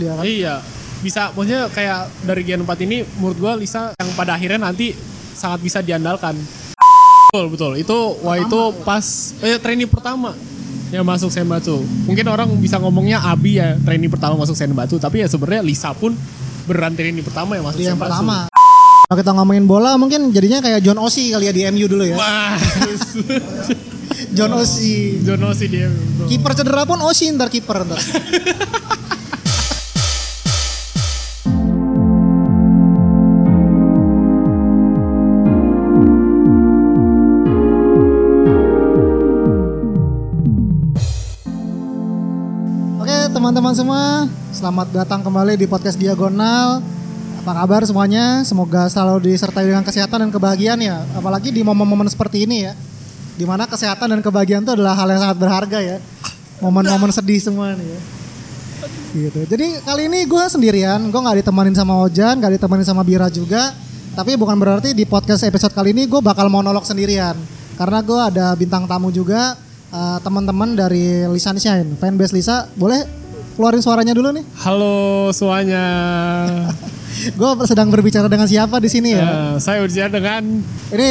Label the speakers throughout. Speaker 1: Iya kan?
Speaker 2: Iya. Bisa maksudnya kayak dari Gen 4 ini menurut gua Lisa yang pada akhirnya nanti sangat bisa diandalkan. Betul, betul. Itu wah itu pas eh trainee pertama yang masuk Senbatsu. Mungkin orang bisa ngomongnya Abi ya trainee pertama masuk Senbatsu, tapi ya sebenarnya Lisa pun beran trainee pertama yang masuk
Speaker 1: Dia Iya, yang
Speaker 2: Senbatsu.
Speaker 1: pertama. Kalau kita ngomongin bola mungkin jadinya kayak John Osi kali ya di MU dulu ya.
Speaker 2: Wah.
Speaker 1: John Osi.
Speaker 2: Jono sih dia. betul.
Speaker 1: Kiper cedera pun Osi ntar kiper ntar. Oke teman-teman semua, selamat datang kembali di podcast Diagonal. Apa kabar semuanya? Semoga selalu disertai dengan kesehatan dan kebahagiaan ya. Apalagi di momen-momen seperti ini ya. Dimana kesehatan dan kebahagiaan itu adalah hal yang sangat berharga ya. Momen-momen sedih semua nih ya. Gitu. Jadi kali ini gue sendirian, gue nggak ditemanin sama Ojan, nggak ditemanin sama Bira juga. Tapi bukan berarti di podcast episode kali ini gue bakal monolog sendirian. Karena gue ada bintang tamu juga, eh, teman-teman dari Lisa Shine, fanbase Lisa. Boleh keluarin suaranya dulu nih.
Speaker 2: Halo semuanya.
Speaker 1: Gue sedang berbicara dengan siapa di sini ya?
Speaker 2: Eh, saya ujian dengan
Speaker 1: Ini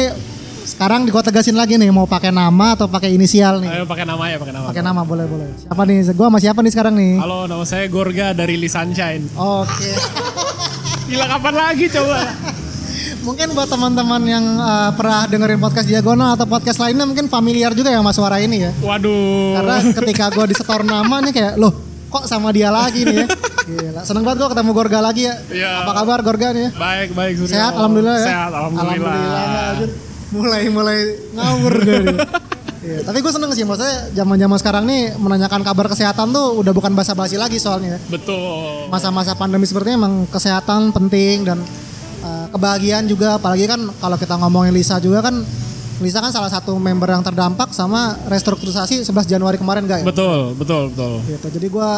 Speaker 1: sekarang gue tegasin lagi nih, mau pakai nama atau pakai inisial nih?
Speaker 2: Ayo pakai nama ya, pakai nama.
Speaker 1: Pakai nama boleh boleh. Siapa nih? Gue sama siapa nih sekarang nih?
Speaker 2: Halo, nama saya Gorga dari Lee Sunshine.
Speaker 1: Oke.
Speaker 2: Gila kapan lagi coba?
Speaker 1: mungkin buat teman-teman yang eh, pernah dengerin podcast Diagonal atau podcast lainnya mungkin familiar juga ya sama suara ini ya.
Speaker 2: Waduh.
Speaker 1: Karena ketika gue disetor nama nih kayak loh kok sama dia lagi nih ya. Gila. Seneng banget gue ketemu Gorga lagi ya.
Speaker 2: Iya.
Speaker 1: Apa kabar Gorga nih ya?
Speaker 2: Baik, baik. Suryo.
Speaker 1: Sehat alhamdulillah ya.
Speaker 2: Sehat, alhamdulillah.
Speaker 1: anjir. Mulai-mulai ngawur gue. nih. Iya, tapi gue seneng sih maksudnya zaman-zaman sekarang nih menanyakan kabar kesehatan tuh udah bukan basa-basi lagi soalnya.
Speaker 2: Betul.
Speaker 1: Masa-masa pandemi seperti ini emang kesehatan penting dan uh, kebahagiaan juga apalagi kan kalau kita ngomongin Lisa juga kan Lisa kan salah satu member yang terdampak sama restrukturisasi 11 Januari kemarin guys.
Speaker 2: Betul, betul, betul.
Speaker 1: Gitu. Jadi gue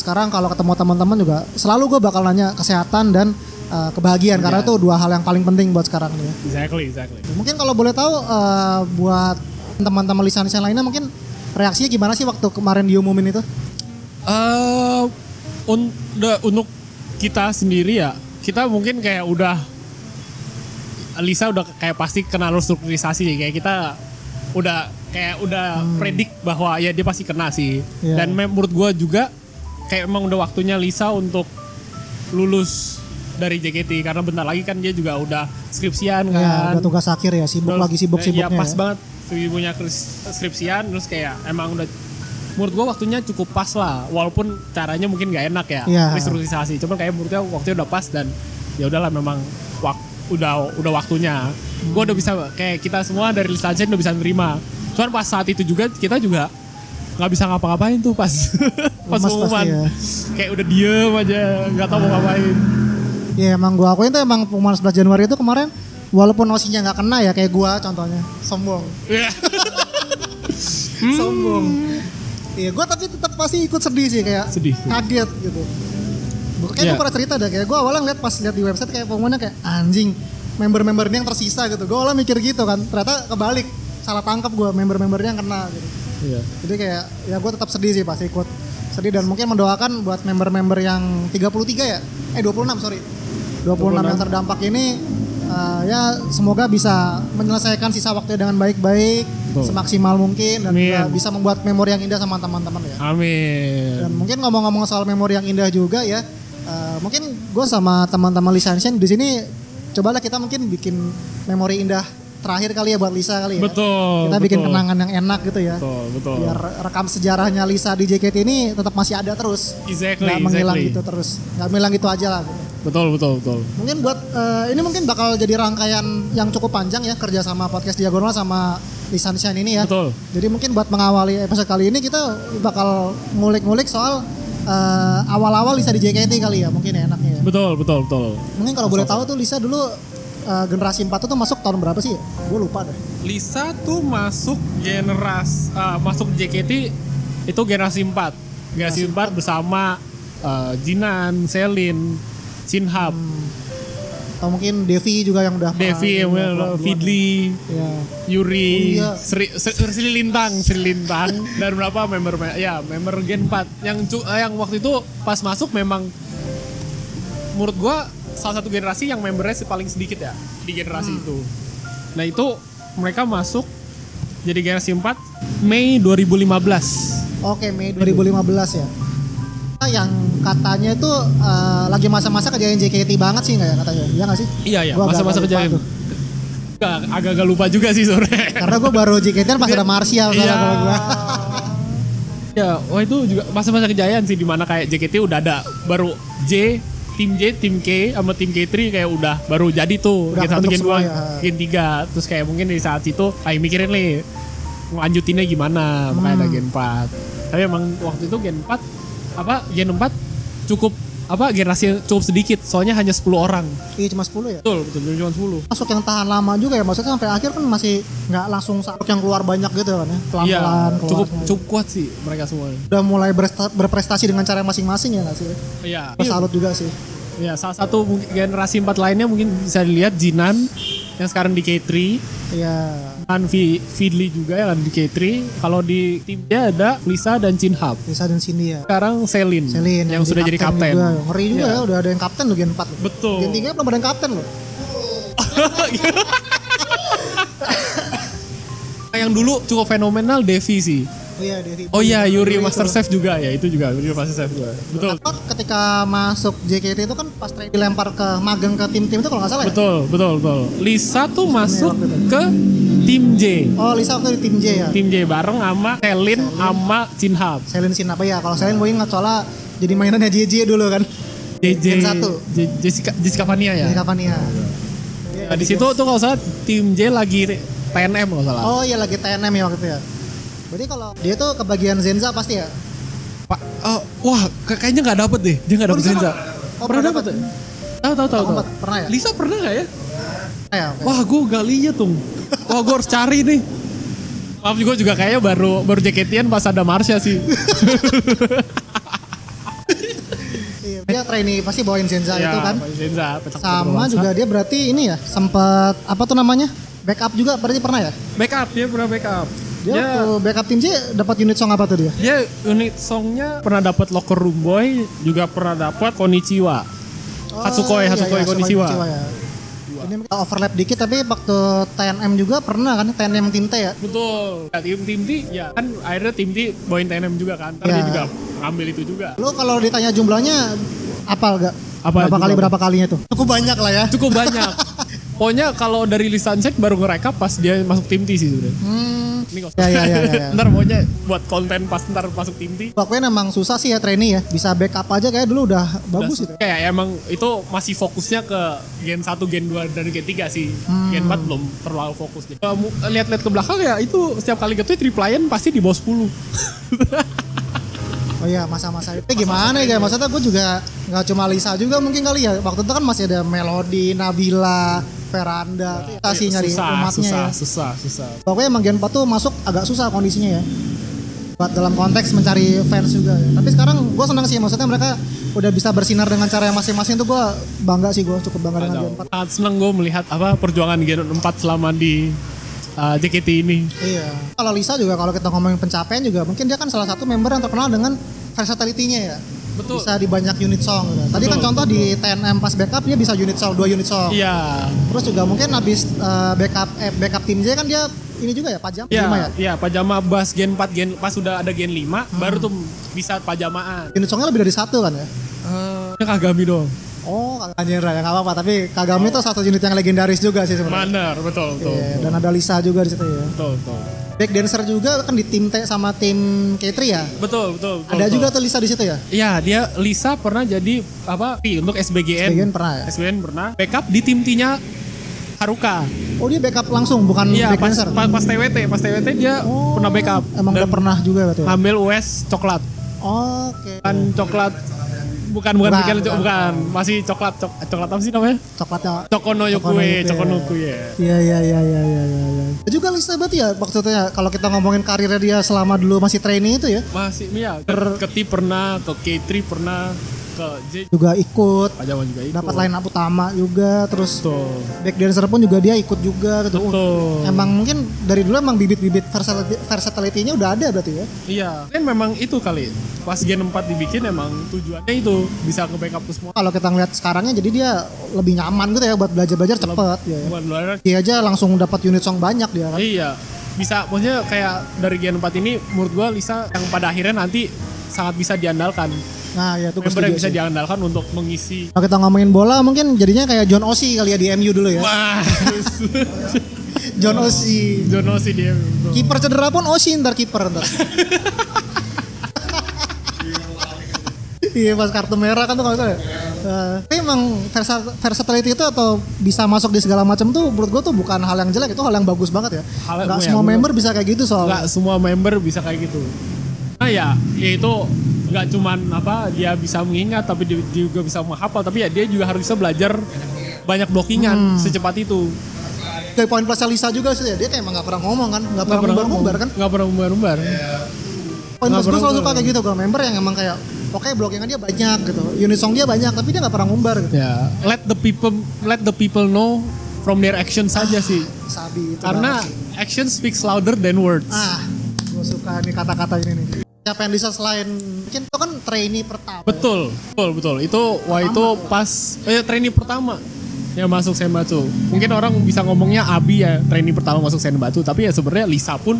Speaker 1: sekarang kalau ketemu teman-teman juga selalu gue bakal nanya kesehatan dan uh, kebahagiaan karena
Speaker 2: Iya.
Speaker 1: itu dua hal yang paling penting buat sekarang nih.
Speaker 2: Exactly, exactly.
Speaker 1: Mungkin kalau boleh tahu eh, buat teman-teman lisan-lisan lainnya mungkin reaksinya gimana sih waktu kemarin diumumin itu?
Speaker 2: Eh, un- udah, untuk kita sendiri ya, kita mungkin kayak udah Lisa udah kayak pasti kena restrukturisasi kayak kita udah kayak udah predik bahwa ya dia pasti kena sih.
Speaker 1: Hmm. Iya.
Speaker 2: Dan mem- menurut gua juga kayak emang udah waktunya Lisa untuk lulus dari JKT karena bentar lagi kan dia juga udah skripsian kan.
Speaker 1: Ya, udah tugas akhir ya, sibuk
Speaker 2: Terus,
Speaker 1: lagi sibuk-sibuknya.
Speaker 2: ya, pas
Speaker 1: ya.
Speaker 2: banget ibunya skripsian terus kayak emang udah menurut gua waktunya cukup pas lah walaupun caranya mungkin nggak enak ya
Speaker 1: Iya.
Speaker 2: restrukturisasi cuman kayak menurut gua waktunya udah pas dan ya udahlah memang wak- udah udah waktunya gua udah bisa kayak kita semua dari lisansi udah bisa nerima cuman pas saat itu juga kita juga nggak bisa ngapa-ngapain tuh pas pas
Speaker 1: Lemas pasti
Speaker 2: pengumuman
Speaker 1: ya.
Speaker 2: kayak udah diem aja nggak tahu mau ngapain
Speaker 1: Ya emang gua akuin tuh emang pengumuman 11 Januari itu kemarin walaupun nosinya nggak kena ya kayak gua contohnya sombong.
Speaker 2: Iya. Hmm.
Speaker 1: Sombong. Iya gua tapi tetap pasti ikut sedih sih kayak
Speaker 2: Sedih.
Speaker 1: kaget gitu. Bu- Kayak
Speaker 2: Iya.
Speaker 1: gua pernah cerita dah kayak gua awalnya ngeliat pas lihat di website kayak pengumumannya kayak anjing member-membernya yang tersisa gitu. Gua awalnya mikir gitu kan ternyata kebalik salah tangkap gua member-membernya yang kena gitu.
Speaker 2: Iya.
Speaker 1: Jadi kayak ya gue tetap sedih sih pasti ikut sedih dan mungkin mendoakan buat member-member yang 33 ya eh 26 sorry 26, yang terdampak ini eh, ya semoga bisa menyelesaikan sisa waktunya dengan baik-baik
Speaker 2: Betul.
Speaker 1: semaksimal mungkin dan juga
Speaker 2: Amin.
Speaker 1: bisa membuat memori yang indah sama teman-teman ya
Speaker 2: amin
Speaker 1: dan mungkin ngomong-ngomong soal memori yang indah juga ya eh, mungkin gue sama teman-teman lisensian di sini cobalah kita mungkin bikin memori indah terakhir kali ya buat Lisa kali ya
Speaker 2: betul
Speaker 1: kita bikin
Speaker 2: betul.
Speaker 1: kenangan yang enak gitu ya
Speaker 2: Betul, betul.
Speaker 1: biar rekam sejarahnya Lisa di JKT ini tetap masih ada terus
Speaker 2: exactly,
Speaker 1: nggak menghilang
Speaker 2: exactly.
Speaker 1: gitu terus nggak menghilang gitu aja lah gitu.
Speaker 2: Betul, betul, betul.
Speaker 1: mungkin buat eh, ini mungkin bakal jadi rangkaian yang cukup panjang ya kerjasama podcast diagonal sama Lisa Shine ini ya
Speaker 2: Betul.
Speaker 1: jadi mungkin buat mengawali episode kali ini kita bakal ngulik-ngulik soal eh, awal-awal Lisa di JKT kali ya mungkin ya enaknya ya.
Speaker 2: Betul, betul, betul.
Speaker 1: mungkin kalau boleh tahu tuh Lisa dulu eh, generasi 4 tuh masuk tahun berapa sih gue lupa deh
Speaker 2: Lisa tuh masuk generasi ah, masuk JKT itu generasi 4. Generasi 4 bersama eh, Jinan, Selin, Sinhab,
Speaker 1: Hmm, atau mungkin Devi juga yang udah
Speaker 2: Devi, Emil,
Speaker 1: yang udah pulang duluan.
Speaker 2: Fidli,
Speaker 1: ya
Speaker 2: Yuri,
Speaker 1: Oh iya.
Speaker 2: Sri, Sri- Sri Lintang, Sri Lintang dan berapa member ya member Gen 4 yang cu- eh, yang waktu itu pas masuk memang menurut gua salah satu generasi yang membernya sih paling sedikit ya di generasi
Speaker 1: Hmm.
Speaker 2: itu. Nah, itu mereka masuk jadi generasi 4 Mei 2015.
Speaker 1: Oke, Mei 2015 ya. Yang katanya itu eh, lagi masa-masa kejadian JKT banget sih nggak ya katanya? Iya nggak sih?
Speaker 2: Iya, iya,
Speaker 1: Gua agak-
Speaker 2: masa-masa
Speaker 1: agak lupa
Speaker 2: kejayaan.
Speaker 1: tuh.
Speaker 2: Agak- Agak-agak lupa juga sih sore.
Speaker 1: Karena gue baru JKT kan pas ada Martial
Speaker 2: Iya.
Speaker 1: kalau gua.
Speaker 2: Ya, wah itu juga masa-masa kejayaan sih dimana kayak JKT udah ada baru J, tim J, tim K sama tim K3 kayak udah baru jadi tuh
Speaker 1: Udah
Speaker 2: gen 1,
Speaker 1: kebentuk
Speaker 2: gen 2,
Speaker 1: semua ya.
Speaker 2: gen 3 terus kayak mungkin di saat itu kayak mikirin nih lanjutinnya gimana makanya
Speaker 1: Hmm.
Speaker 2: ada gen 4 tapi emang waktu itu gen 4 apa gen 4 cukup apa generasi cukup sedikit soalnya hanya 10 orang
Speaker 1: Iya cuma 10 ya.
Speaker 2: betul betul cuma 10
Speaker 1: Masuk yang tahan lama juga ya. Maksudnya sampai akhir kan masih nggak langsung satu yang keluar banyak gitu kan ya. Pelan-pelan
Speaker 2: Iya,
Speaker 1: keluar
Speaker 2: cukup
Speaker 1: semua.
Speaker 2: cukup kuat sih mereka semua.
Speaker 1: Udah mulai bersta- berprestasi dengan cara masing-masing ya nggak sih?
Speaker 2: Iya.
Speaker 1: Gua salut juga sih.
Speaker 2: Ya, salah satu mungkin generasi empat lainnya mungkin bisa dilihat Jinan yang sekarang di K3,
Speaker 1: Iya.
Speaker 2: dan Vi- Fidli juga yang ada di K3. Kalau di timnya ada Lisa dan Chin Hab.
Speaker 1: Lisa dan Cindy ya.
Speaker 2: Sekarang Selin,
Speaker 1: Selin kan
Speaker 2: yang, sudah jadi kapten.
Speaker 1: Juga. Ngeri juga
Speaker 2: Iya.
Speaker 1: ya udah ada yang kapten loh Gen 4.
Speaker 2: Betul.
Speaker 1: Gen 3 belum ada yang kapten loh.
Speaker 2: Nah, yang dulu cukup fenomenal Devi sih.
Speaker 1: Oh iya Devi.
Speaker 2: Oh iya, Yuri
Speaker 1: itu.
Speaker 2: Master Chef juga ya, itu juga Yuri Master Chef juga. Betul.
Speaker 1: Atau Nah, ketika masuk JKT itu kan pas trade dilempar ke magang ke tim-tim itu kalau nggak salah ya?
Speaker 2: Betul, betul, betul. Lisa tuh masuk
Speaker 1: waktu itu.
Speaker 2: ke tim J.
Speaker 1: Oh Lisa waktu di tim J ya?
Speaker 2: Tim J bareng sama Selin sama Chin Hab.
Speaker 1: Selin Sin apa ya? Kalau Selin gue ingat soalnya jadi mainannya JJ dulu kan.
Speaker 2: JJ
Speaker 1: Gen satu.
Speaker 2: J- Jessica Jessica Fania ya.
Speaker 1: Jadi kapan ya?
Speaker 2: Nah, di situ tuh kalau salah tim J lagi TNM kalau salah.
Speaker 1: Oh iya lagi TNM ya waktu itu ya. Berarti kalau dia tuh kebagian Zenza pasti ya?
Speaker 2: Pak, eh, wah ke- kayaknya nggak dapet deh, dia nggak dapet
Speaker 1: Lisa
Speaker 2: Zenza.
Speaker 1: Oh,
Speaker 2: pernah
Speaker 1: pernah
Speaker 2: dapet?
Speaker 1: dapet?
Speaker 2: ya? Tahu tahu tahu.
Speaker 1: Aku
Speaker 2: tahu.
Speaker 1: empat, pernah ya?
Speaker 2: Lisa pernah nggak ya?
Speaker 1: Ya, oke.
Speaker 2: Wah, gue gak lihat tuh. Wah, gue harus cari nih. Maaf gue juga kayaknya baru baru jaketian pas ada Marsha sih.
Speaker 1: Iya, dia trainee pasti bawain Zenza
Speaker 2: Nah,
Speaker 1: itu kan.
Speaker 2: Ya, Pak Iya, Zenza, pecak
Speaker 1: Sama juga dia berarti ini ya sempat apa tuh namanya? Backup juga berarti pernah ya?
Speaker 2: Backup dia pernah backup.
Speaker 1: Dia waktu backup tim J dapat unit song apa tuh dia?
Speaker 2: dia unit songnya pernah dapat Locker Room Boy, juga pernah dapat Konichiwa. Oh, Hatsukoi,
Speaker 1: iya,
Speaker 2: Hatsukoi
Speaker 1: iya,
Speaker 2: Konichiwa.
Speaker 1: ya. Ini overlap dikit tapi waktu TNM juga pernah kan TNM tim T ya?
Speaker 2: Betul. Ya, tim tim T, ya kan akhirnya tim T bawain TNM juga kan. Ntar
Speaker 1: Ya.
Speaker 2: dia juga ngambil itu juga.
Speaker 1: Lu kalau ditanya jumlahnya apal gak?
Speaker 2: Apa
Speaker 1: berapa
Speaker 2: jumlah?
Speaker 1: kali berapa kalinya tuh? Cukup banyak lah ya.
Speaker 2: Cukup banyak. Pokoknya kalau dari list Sunset baru ngerekap pas dia masuk tim T sih sebenarnya.
Speaker 1: Hmm.
Speaker 2: Ini kok.
Speaker 1: Ya ya ya ya. ya.
Speaker 2: ntar pokoknya buat konten pas ntar masuk tim T.
Speaker 1: Pokoknya emang susah sih ya trainee ya. Bisa backup aja kayak dulu udah bagus
Speaker 2: Udah,
Speaker 1: gitu.
Speaker 2: Kayak emang itu masih fokusnya ke gen 1, gen 2, dan gen 3 sih.
Speaker 1: Hmm.
Speaker 2: Gen 4 belum terlalu fokus. Jadi, kalau mu- Lihat-lihat ke belakang ya itu setiap kali nge-tweet replyan pasti di bawah 10.
Speaker 1: Oh iya masa-masa itu gimana
Speaker 2: gitu.
Speaker 1: ya? Maksudnya gue juga nggak cuma Lisa juga mungkin kali ya. Waktu itu kan masih ada Melody, Nabila, Veranda. Kita sih nyari
Speaker 2: Iya, susah,
Speaker 1: umatnya
Speaker 2: susah,
Speaker 1: ya.
Speaker 2: susah, susah.
Speaker 1: Pokoknya emang Gen 4 tuh masuk agak susah kondisinya ya. Buat dalam konteks mencari fans juga ya. Tapi sekarang gue senang sih maksudnya mereka udah bisa bersinar dengan cara yang masing-masing tuh gue bangga sih gue cukup bangga dengan Gen 4.
Speaker 2: Sangat senang gue melihat apa perjuangan Gen 4 selama di uh, JKT ini.
Speaker 1: Iya. Kalau Lisa juga kalau kita ngomongin pencapaian juga mungkin dia kan salah satu member yang terkenal dengan versatility-nya ya.
Speaker 2: Betul.
Speaker 1: Bisa di banyak unit song gitu. Tadi kan contoh di TNM pas backup dia bisa unit song, dua unit song.
Speaker 2: Iya.
Speaker 1: Terus juga mungkin habis eh, backup eh, backup tim J kan dia ini juga ya pajam
Speaker 2: Iya,
Speaker 1: lima ya. Hmm.
Speaker 2: iya, pajama bas gen 4 gen pas sudah ada gen 5 baru tuh bisa pajamaan.
Speaker 1: Unit songnya lebih dari satu kan ya.
Speaker 2: Ya Kagami dong.
Speaker 1: Oh, Kak Jendra ya nggak apa-apa. Tapi Kagami itu salah satu unit yang legendaris juga sih sebenarnya.
Speaker 2: Manner, betul, betul.
Speaker 1: Iya, dan ada Lisa juga di situ ya.
Speaker 2: Betul, betul.
Speaker 1: Back dancer juga kan di tim T sama tim K3 ya.
Speaker 2: Betul, betul, betul.
Speaker 1: Ada
Speaker 2: betul.
Speaker 1: juga tuh Lisa di situ ya.
Speaker 2: Iya, dia Lisa pernah jadi apa? P untuk SBGN.
Speaker 1: Bagian pernah ya.
Speaker 2: SBGN pernah backup di tim T-nya Haruka.
Speaker 1: Oh dia backup langsung bukan
Speaker 2: Iya,
Speaker 1: back
Speaker 2: pas,
Speaker 1: dancer.
Speaker 2: pas, pas TWT, pas TWT dia
Speaker 1: Oh,
Speaker 2: pernah backup.
Speaker 1: Emang
Speaker 2: dan
Speaker 1: udah pernah juga berarti. ya?
Speaker 2: ambil US coklat.
Speaker 1: Oke.
Speaker 2: Bukan coklat bukan bukan
Speaker 1: Bukan,
Speaker 2: bukan,
Speaker 1: bukan.
Speaker 2: bukan. masih coklat cok, coklat apa sih namanya? eh,
Speaker 1: Coklatnya.
Speaker 2: Cokono Yokue, Cokono Yokue.
Speaker 1: Iya iya iya iya iya iya. Ya. Juga Lisa berarti ya maksudnya kalau kita ngomongin karirnya dia selama dulu masih trainee itu ya.
Speaker 2: Masih iya, ke, ke T pernah, ke K3 pernah. ke J
Speaker 1: juga ikut
Speaker 2: Pajawan juga ikut.
Speaker 1: dapat line up utama juga terus
Speaker 2: Betul.
Speaker 1: back dancer pun juga dia ikut juga gitu. Uh,
Speaker 2: Betul.
Speaker 1: Emang mungkin dari dulu emang bibit-bibit versatility- versatility-nya udah ada berarti ya.
Speaker 2: Iya. Kan memang itu kali. Pas Gen 4 dibikin emang tujuannya itu bisa ke backup ke semua.
Speaker 1: Kalau kita ngeliat sekarangnya jadi dia lebih nyaman gitu ya buat belajar-belajar cepet ya.
Speaker 2: Bukan luar
Speaker 1: Dia aja langsung dapat unit song banyak dia kan.
Speaker 2: Iya. Bisa maksudnya kayak dari Gen 4 ini menurut gua Lisa yang pada akhirnya nanti sangat bisa diandalkan.
Speaker 1: Nah, ya itu
Speaker 2: Member
Speaker 1: gua
Speaker 2: yang
Speaker 1: setuju
Speaker 2: bisa
Speaker 1: sih.
Speaker 2: diandalkan untuk mengisi
Speaker 1: Kalau kita ngomongin bola mungkin jadinya kayak John Osi kali ya di MU dulu ya.
Speaker 2: Wah,
Speaker 1: John Osi.
Speaker 2: Jono sih dia. bro.
Speaker 1: Kiper cedera pun Osi ntar kiper ntar. Iya pas kartu merah kan tuh kalau saya. tapi emang versa- versatility itu atau bisa masuk di segala macam tuh menurut gue tuh bukan hal yang jelek itu hal yang bagus banget ya.
Speaker 2: Hal-
Speaker 1: Gak
Speaker 2: iya,
Speaker 1: semua
Speaker 2: bener.
Speaker 1: member bisa kayak gitu soalnya.
Speaker 2: nggak semua member bisa kayak gitu nah ya yaitu nggak cuman apa dia bisa mengingat tapi dia juga bisa menghafal tapi ya dia juga harus bisa belajar banyak blockingan secepat itu
Speaker 1: Kayak poin plusnya Lisa juga sih ya dia kayak emang gak pernah ngomong kan, gak pernah
Speaker 2: Nggak Iya. pernah
Speaker 1: ngumbar-ngumbar kan.
Speaker 2: nggak pernah umbar-umbar
Speaker 1: Poin
Speaker 2: Nggak
Speaker 1: plus gue
Speaker 2: pernah
Speaker 1: selalu suka
Speaker 2: ngumbar.
Speaker 1: kayak gitu kalau member yang emang kayak oke blockingan dia banyak gitu, unit song dia banyak tapi dia gak pernah ngumbar gitu.
Speaker 2: ya let the people let the people know from their action saja sih
Speaker 1: Sabi itu kan.
Speaker 2: karena
Speaker 1: banget sih.
Speaker 2: action speaks louder than words
Speaker 1: Ah, gue suka nih kata-kata ini nih. Siapa yang bisa selain mungkin itu kan trainee pertama.
Speaker 2: betul betul betul itu wah itu pas eh, trainee pertama yang masuk Senbatsu mungkin orang bisa ngomongnya Abi ya trainee pertama masuk Senbatsu tapi ya sebenarnya Lisa pun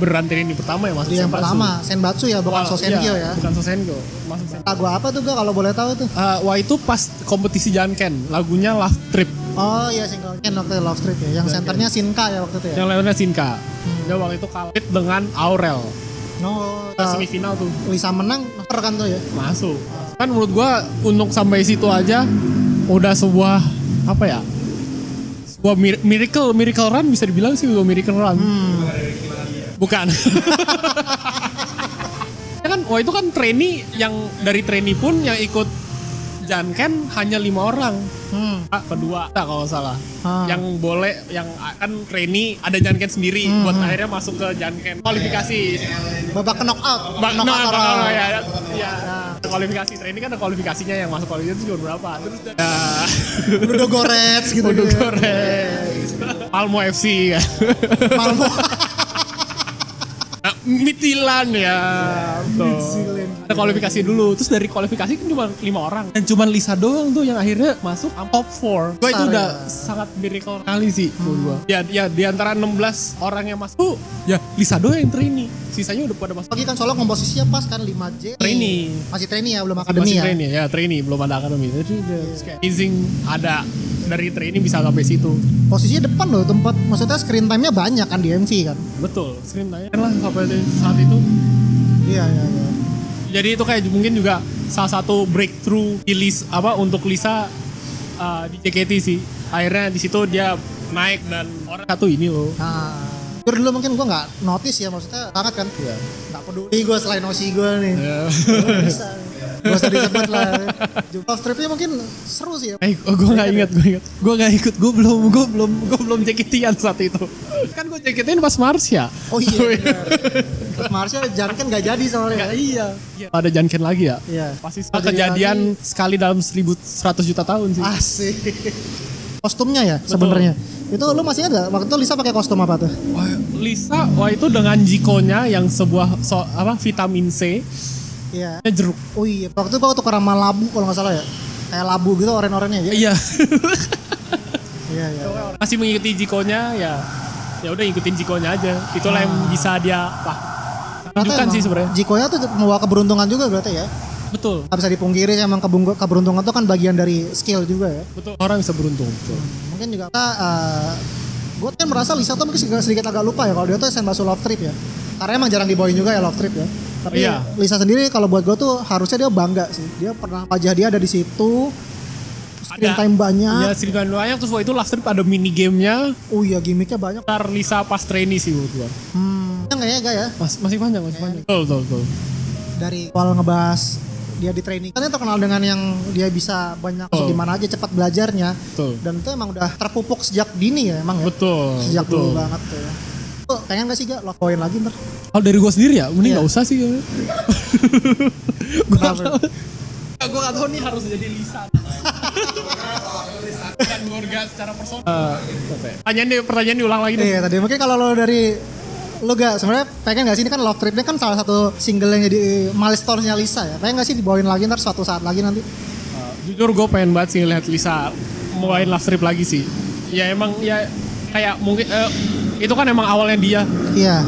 Speaker 2: beneran trainee pertama yang masuk
Speaker 1: Dia Iya, yang
Speaker 2: Senbatsu.
Speaker 1: pertama, Senbatsu ya, bukan
Speaker 2: Wah,
Speaker 1: Sosenkyo
Speaker 2: iya,
Speaker 1: ya.
Speaker 2: bukan Sosenkyo masuk Senbatsu
Speaker 1: Lagu apa tuh gue kalau boleh tahu tuh?
Speaker 2: Eh, wah itu pas kompetisi Janken lagunya Love Trip
Speaker 1: Oh iya single Ken waktu Love Street
Speaker 2: Iya,
Speaker 1: ya, yang senternya Sinka ya waktu itu ya.
Speaker 2: yang lawannya Shinka dia waktu itu kalah dengan Aurel
Speaker 1: No, eh,
Speaker 2: Pas semifinal tuh
Speaker 1: Lisa menang, noter kan tuh ya.
Speaker 2: masuk kan menurut gua untuk sampai situ aja udah sebuah apa ya sebuah mir- miracle miracle run bisa dibilang sih sebuah miracle run bukan Ya kan wah itu kan trainee yang dari trainee pun yang ikut Janken hanya lima orang
Speaker 1: Hmm.
Speaker 2: Ah, kedua tak kalau salah
Speaker 1: Ah.
Speaker 2: yang boleh yang kan trainee ada Janken sendiri buat akhirnya masuk ke Janken kualifikasi
Speaker 1: Babak knock out,
Speaker 2: Bang,
Speaker 1: knock
Speaker 2: no, Bang
Speaker 1: out orang.
Speaker 2: Noro, ya, ya, ya. Kualifikasi training kan ada kualifikasinya yang masuk kualifikasi itu juga berapa? Terus
Speaker 1: Nah.
Speaker 2: ada
Speaker 1: Nudo Gorets gitu.
Speaker 2: Bodo
Speaker 1: gitu.
Speaker 2: Gores, Palmo FC ya.
Speaker 1: Malmo.
Speaker 2: Nah, Mitilan ya. Tuh.
Speaker 1: Mitilan.
Speaker 2: Ada kualifikasi dulu. Terus dari kualifikasi kan cuma lima orang. Dan cuma Lisa doang tuh yang akhirnya masuk top 4. Gue itu
Speaker 1: Besar,
Speaker 2: udah
Speaker 1: ya. Hmm.
Speaker 2: sangat miracle kali sih menurut gua. Ya, ya di antara 16 orang yang masuk tuh, ya Lisa doang yang trainee. Sisanya udah pada masuk
Speaker 1: Pagi kan soalnya komposisinya pas kan 5J.
Speaker 2: Trainee.
Speaker 1: Masih trainee ya, belum akademi
Speaker 2: masih
Speaker 1: ya.
Speaker 2: trainee ya trainee belum ada akademi jadi udah kayak amazing ada dari trainee bisa sampai situ
Speaker 1: Posisinya depan loh tempat, maksudnya screen time-nya banyak kan di MV kan.
Speaker 2: betul screen time lah sampai di- saat itu
Speaker 1: Iya, iya, iya.
Speaker 2: jadi itu kayak mungkin juga salah satu breakthrough di Lis- apa untuk Lisa uh, di JKT sih akhirnya di situ dia naik dan orang satu ini loh
Speaker 1: Nah, jujur dulu mungkin gue nggak notice ya maksudnya banget kan. Iya. Nggak peduli gue selain Osi gue nih.
Speaker 2: Ya.
Speaker 1: Nggak Bisa. Gak usah disebut lah. Jumpa stripnya mungkin seru sih ya.
Speaker 2: Eh, gue gak ingat, gue ingat. Gue gak ikut, gue belum, gue belum, gue belum JKT-an saat itu. Kan gue JKT-an pas ya? Marsha.
Speaker 1: Oh iya. benar. Terus Marsha jangan kan nggak jadi soalnya.
Speaker 2: iya. Ada Janken lagi ya?
Speaker 1: Iya.
Speaker 2: Pasti semua
Speaker 1: Pasti
Speaker 2: kejadian sekali dalam 1100 juta tahun sih.
Speaker 1: Asik. Kostumnya ya sebenarnya. Itu lu masih ada waktu itu Lisa pakai kostum apa tuh?
Speaker 2: Wah, Lisa, wah itu dengan jikonya yang sebuah so, apa vitamin C,
Speaker 1: Iya.
Speaker 2: nya jeruk.
Speaker 1: Oh iya, waktu itu gua tuker sama labu kalau nggak salah ya. Kayak labu gitu oren-orennya ya.
Speaker 2: Iya.
Speaker 1: Iya, iya.
Speaker 2: Masih mengikuti jikonya ya. Ya udah ikutin jikonya aja. Itulah yang bisa dia lah. Tunjukkan sih sebenarnya.
Speaker 1: Jikonya tuh membawa keberuntungan juga berarti ya.
Speaker 2: Betul.
Speaker 1: Gak bisa dipungkiri sih, emang kebung- keberuntungan itu kan bagian dari skill juga ya.
Speaker 2: Betul. Orang bisa beruntung. Betul.
Speaker 1: Mungkin juga kita, gue kan merasa Lisa tuh mungkin sedikit, sedikit agak lupa ya kalau dia tuh Senbatsu Love Trip ya. Karena emang jarang dibawain juga ya Love Trip ya. Tapi
Speaker 2: Iya.
Speaker 1: Lisa sendiri kalau buat gue tuh harusnya dia bangga sih. Dia pernah wajah dia ada di situ. Screen
Speaker 2: Ada.
Speaker 1: time banyak.
Speaker 2: Ya Sriwan banyak terus wah itu last trip ada mini gamenya.
Speaker 1: Oh iya gimmicknya banyak.
Speaker 2: Ntar Lisa pas trainee sih menurut gua.
Speaker 1: Hmm. Yang kayaknya gak ya
Speaker 2: Mas, masih panjang, masih panjang. Betul, betul, betul.
Speaker 1: dari awal ngebahas dia di training. Karena terkenal dengan yang dia bisa banyak masuk
Speaker 2: Betul.
Speaker 1: di mana aja cepat belajarnya.
Speaker 2: Betul.
Speaker 1: Dan itu emang udah terpupuk sejak dini ya emang ya.
Speaker 2: Betul.
Speaker 1: sejak
Speaker 2: betul.
Speaker 1: dulu banget tuh ya. Tuh, pengen gak sih gak love poin lagi ntar?
Speaker 2: Iya. Kalau dari gue sendiri ya, mending
Speaker 1: Iya.
Speaker 2: Ya, nggak usah sih. gue
Speaker 1: Kenapa?
Speaker 2: gue gak tau nih harus jadi Lisa. Dan Gorga secara personal. Eh, Pertanyaan di, pertanyaan diulang lagi deh.
Speaker 1: Iya tadi mungkin kalau lo dari lo gak sebenarnya pengen gak sih ini kan Love Trip-nya kan salah satu single yang jadi eh, milestone-nya Lisa ya. Pengen gak sih dibawain lagi ntar suatu saat lagi nanti?
Speaker 2: Uh, jujur gue pengen banget sih lihat Lisa mulai love trip lagi sih. Ya emang ya kayak mungkin eh, itu kan emang awalnya dia
Speaker 1: Iya.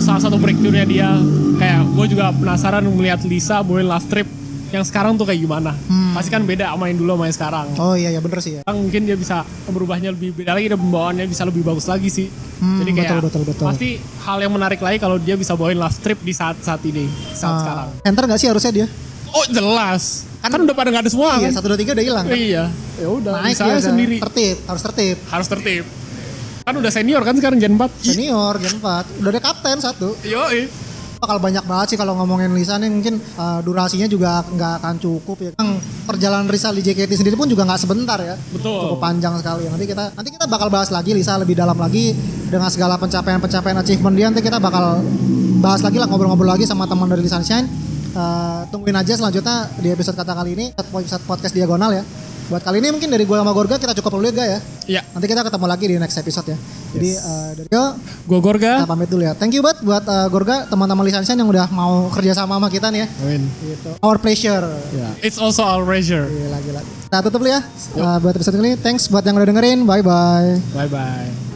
Speaker 2: salah satu breakthrough-nya dia. Kayak gue juga penasaran melihat Lisa mulai love trip yang sekarang tuh kayak gimana. Pasti kan beda sama yang dulu sama yang sekarang.
Speaker 1: Oh iya ya bener sih ya.
Speaker 2: Sekarang mungkin dia bisa berubahnya lebih beda lagi dan pembawaannya bisa lebih bagus lagi sih.
Speaker 1: Hmm,
Speaker 2: Jadi kayak
Speaker 1: betul, betul, betul.
Speaker 2: pasti hal yang menarik lagi kalau dia bisa bawain love trip di saat-saat ini, saat
Speaker 1: Ah,
Speaker 2: sekarang.
Speaker 1: Enter gak sih harusnya dia?
Speaker 2: Oh jelas. Kan, udah pada nggak ada semua
Speaker 1: Iya
Speaker 2: kan?
Speaker 1: satu dua tiga udah hilang.
Speaker 2: Iya. Ya udah,
Speaker 1: Naik
Speaker 2: bisa
Speaker 1: dia
Speaker 2: aja
Speaker 1: udah.
Speaker 2: sendiri.
Speaker 1: Tertib harus tertib.
Speaker 2: Harus tertib. Kan udah senior kan sekarang Gen 4.
Speaker 1: Senior Gen 4 udah ada kapten satu.
Speaker 2: Yo,
Speaker 1: Bakal banyak banget sih kalau ngomongin Lisa nih mungkin eh, durasinya juga nggak akan cukup ya. Yang perjalanan Lisa di JKT sendiri pun juga nggak sebentar ya.
Speaker 2: Betul.
Speaker 1: Cukup panjang sekali. Nanti kita nanti kita bakal bahas lagi Lisa lebih dalam lagi dengan segala pencapaian-pencapaian achievement dia nanti kita bakal bahas lagi lah ngobrol-ngobrol lagi sama teman dari Lisa Shine. Eh, tungguin aja selanjutnya di episode kata kali ini episode podcast diagonal ya. Buat kali ini mungkin dari gua sama Gorga kita cukup dulu ya Ga, ya.
Speaker 2: Iya.
Speaker 1: Nanti kita ketemu lagi di next episode ya. Jadi eh, dari yo
Speaker 2: Gue
Speaker 1: kita
Speaker 2: Gorga.
Speaker 1: pamit dulu ya. Thank you banget buat eh, Gorga teman-teman Lisansian yang udah mau kerja sama sama kita nih ya. Gitu. Our pleasure.
Speaker 2: It's also our pleasure.
Speaker 1: Iya, Nah, Ah, Gila gila. Kita tutup dulu ya eh, buat episode kali ini. Thanks buat yang udah dengerin. Bye bye.
Speaker 2: Bye bye.